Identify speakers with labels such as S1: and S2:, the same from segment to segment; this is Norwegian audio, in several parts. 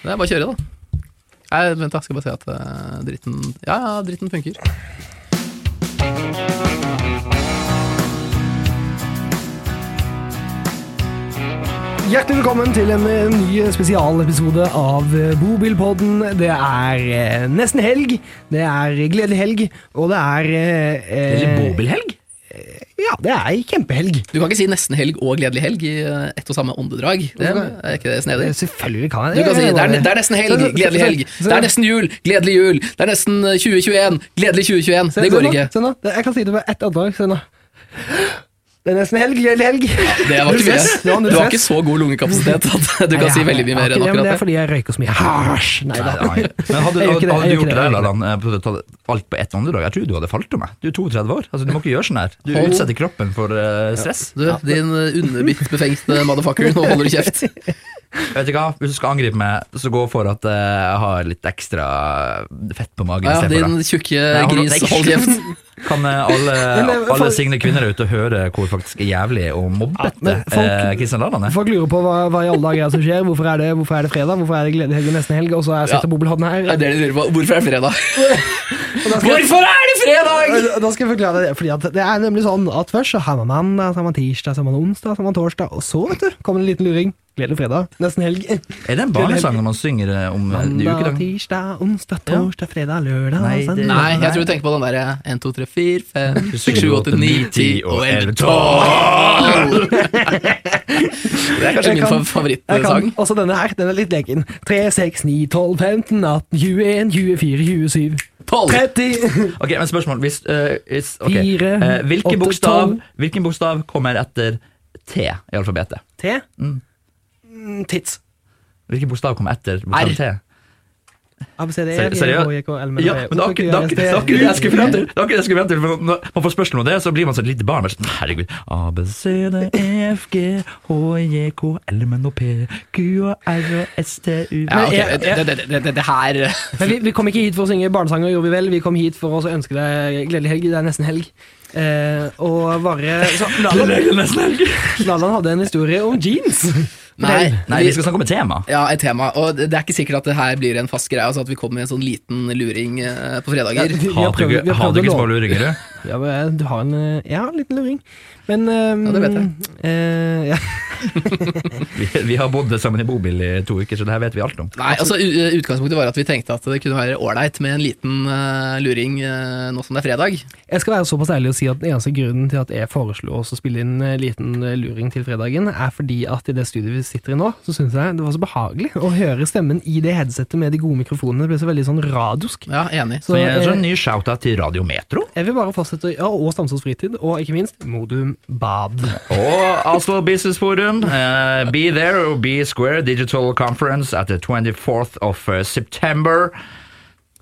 S1: Det er bare å kjøre, da. Nei, vent, da. Skal jeg bare se at eh, dritten Ja, ja, dritten funker.
S2: Hjertelig velkommen til en eh, ny spesialepisode av eh, Bobilpodden. Det er eh, nesten helg, det er gledelig helg, og det er eh, eh,
S3: Eller bobilhelg?
S2: Ja, det er kjempehelg.
S1: Du kan ikke si nesten helg og gledelig helg i eh, ett og samme åndedrag. Det
S2: Hvorfor
S1: er ikke det snedig.
S2: Eh, Selvfølgelig
S1: Du
S2: kan jeg
S1: kan si det er, det er nesten helg, gledelig helg. Det er nesten jul, gledelig jul. Det er nesten eh, 2021, gledelig 2021. Det går ikke.
S2: Se nå, se nå. jeg kan si det med ett andrag. Se nå. Det er nesten helg, gledelig helg.
S1: Det var ikke
S2: Null stress. Det var
S1: mye.
S2: null
S1: Du har
S2: stress.
S1: ikke så god lungekapasitet at du
S2: Nei,
S1: kan si
S2: jeg-
S1: veldig mye
S2: jeg
S1: mer
S2: har ikke
S1: enn
S2: det, men Det
S1: akkurat
S2: er
S1: det.
S2: fordi jeg røyker så mye hasj. Nei da.
S3: Nei.
S2: Jeg
S3: Men hadde,
S2: gjør ikke
S3: hadde,
S2: det, jeg
S3: hadde du
S2: gjør
S3: gjort
S2: ikke
S3: det,
S2: det.
S3: Lelland, eh, prøvd å ta alt på ett åndedrag, jeg tror du hadde falt av meg. Du er 32 år. Altså, du må ikke gjøre sånn her. Du
S1: Hold.
S3: utsetter kroppen for eh, stress.
S1: Du, din eh, underbitt befengte motherfucker, nå holder du kjeft.
S3: Vet du hva, Hvis du skal angripe meg, så gå for at eh, jeg har litt ekstra fett på magen.
S1: Ja,
S3: i stedet for, da.
S1: din tjukke
S2: eh,
S3: Nei, hold-
S1: gris,
S3: nei,
S1: hold kjeft.
S3: Kan eh,
S2: Men,
S3: alle,
S2: eh,
S3: alle
S2: folk-
S3: single kvinner ute høre hvor faktisk er jævlig og mobbete
S2: men folk-
S3: eh, Kristian Laland er?
S2: Folk lurer på hva, hva i alle dager er det som skjer. Hvorfor er det, hvorfor er det fredag? Hvorfor er det gledelig helg og nesten helg? Og så er
S1: Ja.
S2: Sette Bobelhodden her.
S1: Det er det de lurer på. Hvorfor er det fredag?
S2: Og da skal jeg-
S1: Hvorfor er det fredag?!
S2: Da skal jeg forklare deg det. Fordi at det er nemlig sånn at først så har man mandag, så har man tirsdag, så har man onsdag, så har man torsdag, og så, vet du, kommer en liten luring. Gledelig fredag. Nesten helg.
S3: Er det en barnesang når man synger eh, om eh, de
S2: Mandag,
S3: ukedagene?
S2: tirsdag, onsdag, torsdag, fredag, lørdag
S3: Nei, det-
S2: søndag.
S1: Nei, jeg tror du tenker på den eh, derre 1, 2, 3, 4, 5, 6, 7, 8, 9, 10 og 11, 12! Det er kanskje
S2: Jeg
S1: min
S2: kan-
S1: fa-
S2: Jeg
S1: favorittsang.
S2: kan også denne her. Den er litt leken. 3, 6, 9, 12, 15, 18, 21, 24, 27,
S1: Tolv!
S2: 30
S3: Ok, men spørsmål hvis, eh, hvis, ok.
S2: Fire,
S3: Eh, hvilken,
S2: åtte,
S3: bokstav,
S2: tolv.
S3: hvilken bokstav kommer etter T i alfabetet?
S2: T?
S3: Mm.
S2: Mm, Tits.
S3: Hvilken bokstav kommer etter bokstav
S1: R.
S3: T?
S2: ABCD,
S3: Ser- seriøst? Ja, men det var ikke det var ikke- det var ikke det jeg skulle frem til! Det var ikke det jeg skulle frem til for Når man får spørsmål om det, så blir man som et lite barn. bare Sånn, herregud. A, B, C, D, E, F, G, H, J, K, L, M, N, O, P, Q, og R, og S, T, U
S1: Ja, ok,
S2: jeg-
S1: det, det, det, det, det her
S2: Men vi, vi kom ikke hit for å synge barnesanger, gjorde vi vel? Vi kom hit for å ønske deg gledelig helg. Det er nesten helg. Eh, og bare så, Lalan, Lalan hadde en historie om jeans.
S1: Nei,
S3: Nei, vi skal snakke om et tema.
S1: ja, et tema. Og det det er ikke sikkert at det her blir en fast greie, altså at vi kommer med en sånn liten luring eh, på fredager.
S2: vi- vi har
S3: Har du
S2: prøvd- vi har
S3: ikke- har
S2: prøvd
S3: du
S2: å
S3: ikke
S2: låne-
S3: små luringer, du?
S2: Ja, men jeg- du har en eh, Ja, en liten luring. Men eh,
S1: Ja, det vet
S2: eh, ja.
S3: Vi, vi har bodd sammen i bobil i to uker, så det her vet vi alt om.
S1: Nei, altså u- Utgangspunktet var at vi tenkte at det kunne være ålreit med en liten eh, luring eh, nå som det er fredag.
S2: Jeg skal være såpass ærlig å si at den eneste grunnen til at jeg foreslo oss å spille inn en liten eh, luring til fredagen, er fordi at i det studioet vi sitter i nå, så syns jeg det var så behagelig å høre stemmen i det headsetet med de gode mikrofonene. Det ble så veldig sånn radiosk.
S1: Ja, Enig.
S2: Så,
S3: Så jeg
S2: eh,
S3: en ny shout-out til Radio Metro.
S2: Jeg vil bare fastsette ja, og Stamsås fritid, og ikke minst Modum Bad.
S3: Og Oslo altså Business Forum. eh, be there or be square digital conference at the 24th of eh, September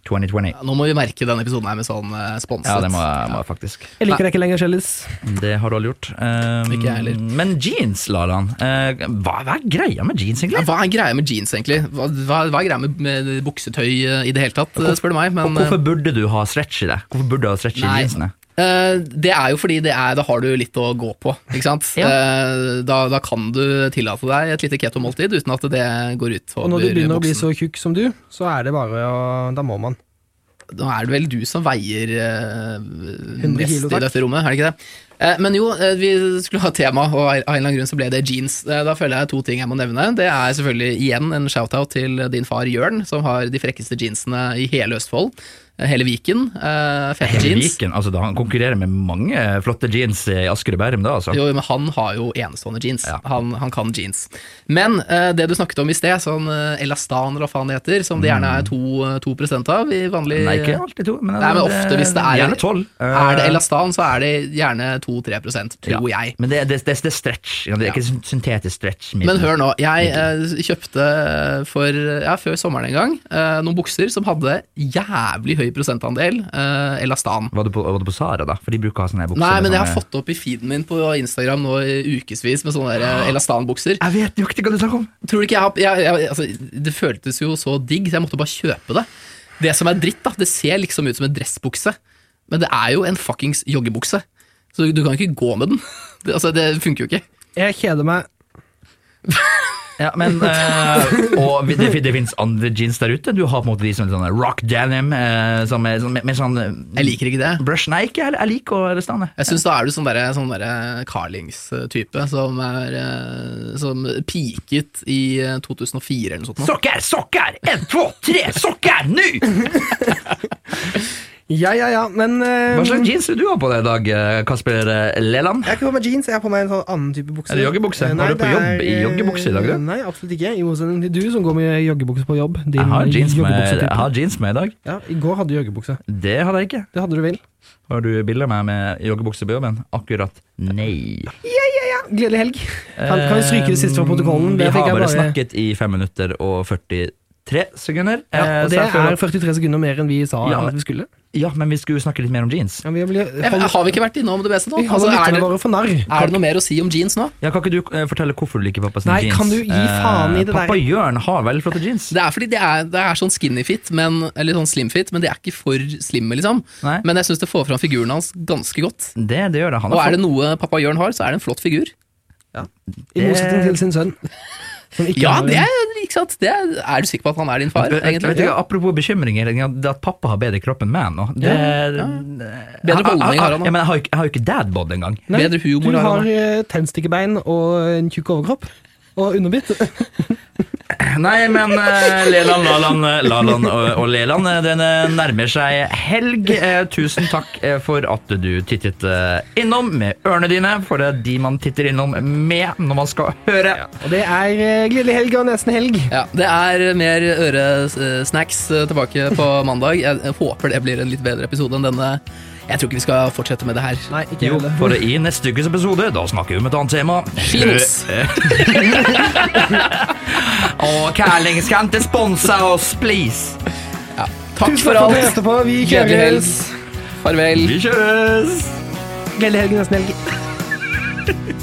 S3: 2020.
S1: Ja, Nå må vi merke denne episoden her med sånn eh, sponset.
S3: Ja, det må jeg må jeg faktisk.
S2: Jeg liker deg ikke lenger, Kjellis.
S3: Det har du aldri gjort. Um,
S1: Ikke jeg heller.
S3: Men jeans, Lalan. Eh, hva, hva er greia med jeans,
S1: Ja,
S3: egentlig?
S1: Hva er greia med jeans, egentlig? Hva, hva, hva er greia med, med buksetøy eh, i det hele tatt, eh, spør du meg?
S3: Og
S1: Men,
S3: hvorfor burde du ha stretch i det? Hvorfor burde du ha stretch i
S1: Nei.
S3: jeansene?
S1: eh, det er jo fordi det er, da har du litt å gå på, ikke sant? Eh, da, da kan du tillate deg et lite keto-måltid uten at det går ut
S2: Og
S1: over
S2: når du begynner å bli
S1: buksen.
S2: så tjukk som du, så er det bare å Da må man.
S1: Nå er det vel du som veier eh, mest i
S2: kilo, takk.
S1: dette rommet, er det ikke det? Eh, men jo, eh, vi skulle ha et tema, og av en eller annen grunn så ble det jeans. Eh, da føler jeg to ting jeg må nevne. Det er selvfølgelig igjen en shout-out til din far Jørn, som har de frekkeste jeansene i hele Østfold. eh, Hele Viken. Eh, fete
S3: Hele
S1: jeans.
S3: Viken, altså, da, han konkurrerer med mange flotte jeans i Asker og Bærum, da, altså.
S1: Jo, men han har jo enestående jeans.
S3: Ja.
S1: Han, han kan jeans. Men eh, det du snakket om i sted, sånn eh, elastan eller hva faen det heter, som det gjerne er 2, 2 av i vanlig
S3: Nei, ikke alltid to, men, altså,
S1: Nei, men ofte hvis det er
S3: gjerne tolv.
S1: Er det elastan, så er det gjerne 2-3 prosent, tror jeg.
S3: Men det, det, det, det er stretch, ja, det er ikke syn- syntetisk stretch.
S1: Men hør nå, jeg eh, kjøpte eh, for, ja, før sommeren en gang eh, noen bukser som hadde jævlig høy prosentandel eh, elastan.
S3: Var du, på, var du på Sara, da? For de bruker å ha sånne bukser.
S1: Nei,
S3: med
S1: men jeg har
S3: sånne-
S1: fått det opp i feeden min på Instagram nå i ukevis med sånne der elastanbukser.
S3: Jeg vet jo ikke hva du snakker om!
S1: Tror du ikke jeg har jeg, jeg, altså, Det føltes jo så digg, så jeg måtte bare kjøpe det. Det som er dritt, da, det ser liksom ut som en dressbukse, men det er jo en fuckings joggebukse. Så du kan ikke gå med den. Det, altså, det funker jo ikke.
S2: Jeg kjeder meg
S3: Ja, men, eh, og det, det finnes andre jeans der ute. Du har på en måte de som er sånne rock denim, eh, som er sånn, med, med sånn eh,
S1: Jeg liker ikke det.
S3: brush. Nei, ikke jeg, jeg liker restene.
S1: Jeg syns da er du sånn derre sånn derre Carlings-type som er eh, Som peaket i eh, 2004 eller noe sånt. nå.
S3: Sokker, sokker! En, to, tre, sokker, nå!
S2: Ja, ja, ja, men eh,
S3: Hva slags jeans vil du ha på deg i dag, eh, Kasper eh, Leland?
S2: Jeg har ikke på meg jeans, jeg har på meg en sånn annen type bukse.
S3: Er det joggebukse?
S2: Eh, nei,
S3: Var du på
S2: det
S3: jobb i
S2: eh,
S3: joggebukse i dag, du?
S2: Nei, absolutt ikke. I motsetning til du som går med joggebukse på jobb. Din
S3: Jeg har jeans med,
S2: joggebuksetype.
S3: jeg har jeans med i dag.
S2: Ja, I går hadde du joggebukse.
S3: Det hadde jeg ikke.
S2: Det hadde du vel.
S3: Har du bilde av meg med joggebukse på jobben? Akkurat Eh, nei.
S2: Ja, Gledelig helg. Kan, kan vi stryke det siste fra protokollen?
S3: Mm, Vi
S2: Det
S3: har
S2: fikk jeg
S3: bare,
S2: bare-
S3: snakket i 5 minutter og 43 sekunder.
S2: Ja,
S3: Eh,
S2: og
S3: så
S2: det
S3: jeg føler
S2: er 43 sekunder mer enn vi sa
S3: Ja, men-
S2: at vi skulle.
S3: at- ja, men vi skulle snakke litt mer om jeans.
S2: Ja, vi har blitt-
S1: Jeg,
S2: hold-
S1: har vi ikke vært innom det beste nå?
S2: vi
S1: Altså,
S2: holder
S1: er,
S2: lytterne
S1: det,
S2: våre for narr.
S1: er det noe mer å si om jeans nå?
S3: Ja, kan ikke du eh, fortelle hvorfor du liker pappa sine
S2: Nei,
S3: jeans?
S2: kan du gi
S3: Eh,
S2: faen i det
S3: pappa
S2: der?
S3: Jørn har veldig flotte jeans.
S1: Det er fordi det er, det er sånn skinny fit, men, eller sånn slim fit, men de er ikke for slimme, liksom.
S3: Nei.
S1: Men jeg syns det får fram figuren hans ganske godt.
S3: Det, det gjør det. Han
S1: Og er
S3: flott.
S1: det noe pappa Jørn har, så er det en flott figur.
S2: I motsetning til sin sønn. som ikke
S1: Ja,
S2: har en-
S1: det er, ikke sant? Det er, er du sikker på at han er din far,
S3: Vet- vet- vet du
S1: egentlig?
S3: hva, apropos bekymringer, det at pappa har bedre kropp enn meg nå det, Ah,
S1: Bedre holdning har han nå.
S3: Ja, men jeg har jo ikke- jeg har jo ikke dadbod engang.
S2: Nei,
S1: Bedre humor
S2: Du
S1: har han
S2: har eh, tennstikkebein og en tjukk overkropp. Og underbitt.
S3: Nei, men eh, Leland, Laland, eh, Laland og, og Leland, eh, den eh, nærmer seg helg. Eh, tusen takk eh, for at du tittet eh, innom med ørene dine, for det er de man titter innom med når man skal høre.
S2: Og det er eh, gledelig helg og nesten helg.
S1: Ja, det er mer øresnacks eh, tilbake på mandag. Jeg eh, håper det blir en litt bedre episode enn denne. Jeg tror ikke vi skal fortsette med det her.
S2: Nei, ikke
S3: Jo,
S2: heller.
S3: for eh, i neste ukes episode, da snakker vi om et annet tema.
S1: Chinos.
S3: Og Kærlings kan ikke sponse oss, please!
S1: Takk for
S2: Tusen takk for at dere
S1: alt.
S2: hørte på. Vi
S1: Gledelig helg.
S2: kjøres.
S1: Farvel.
S3: Vi kjøres!
S2: Gledelig helg og nesten helg.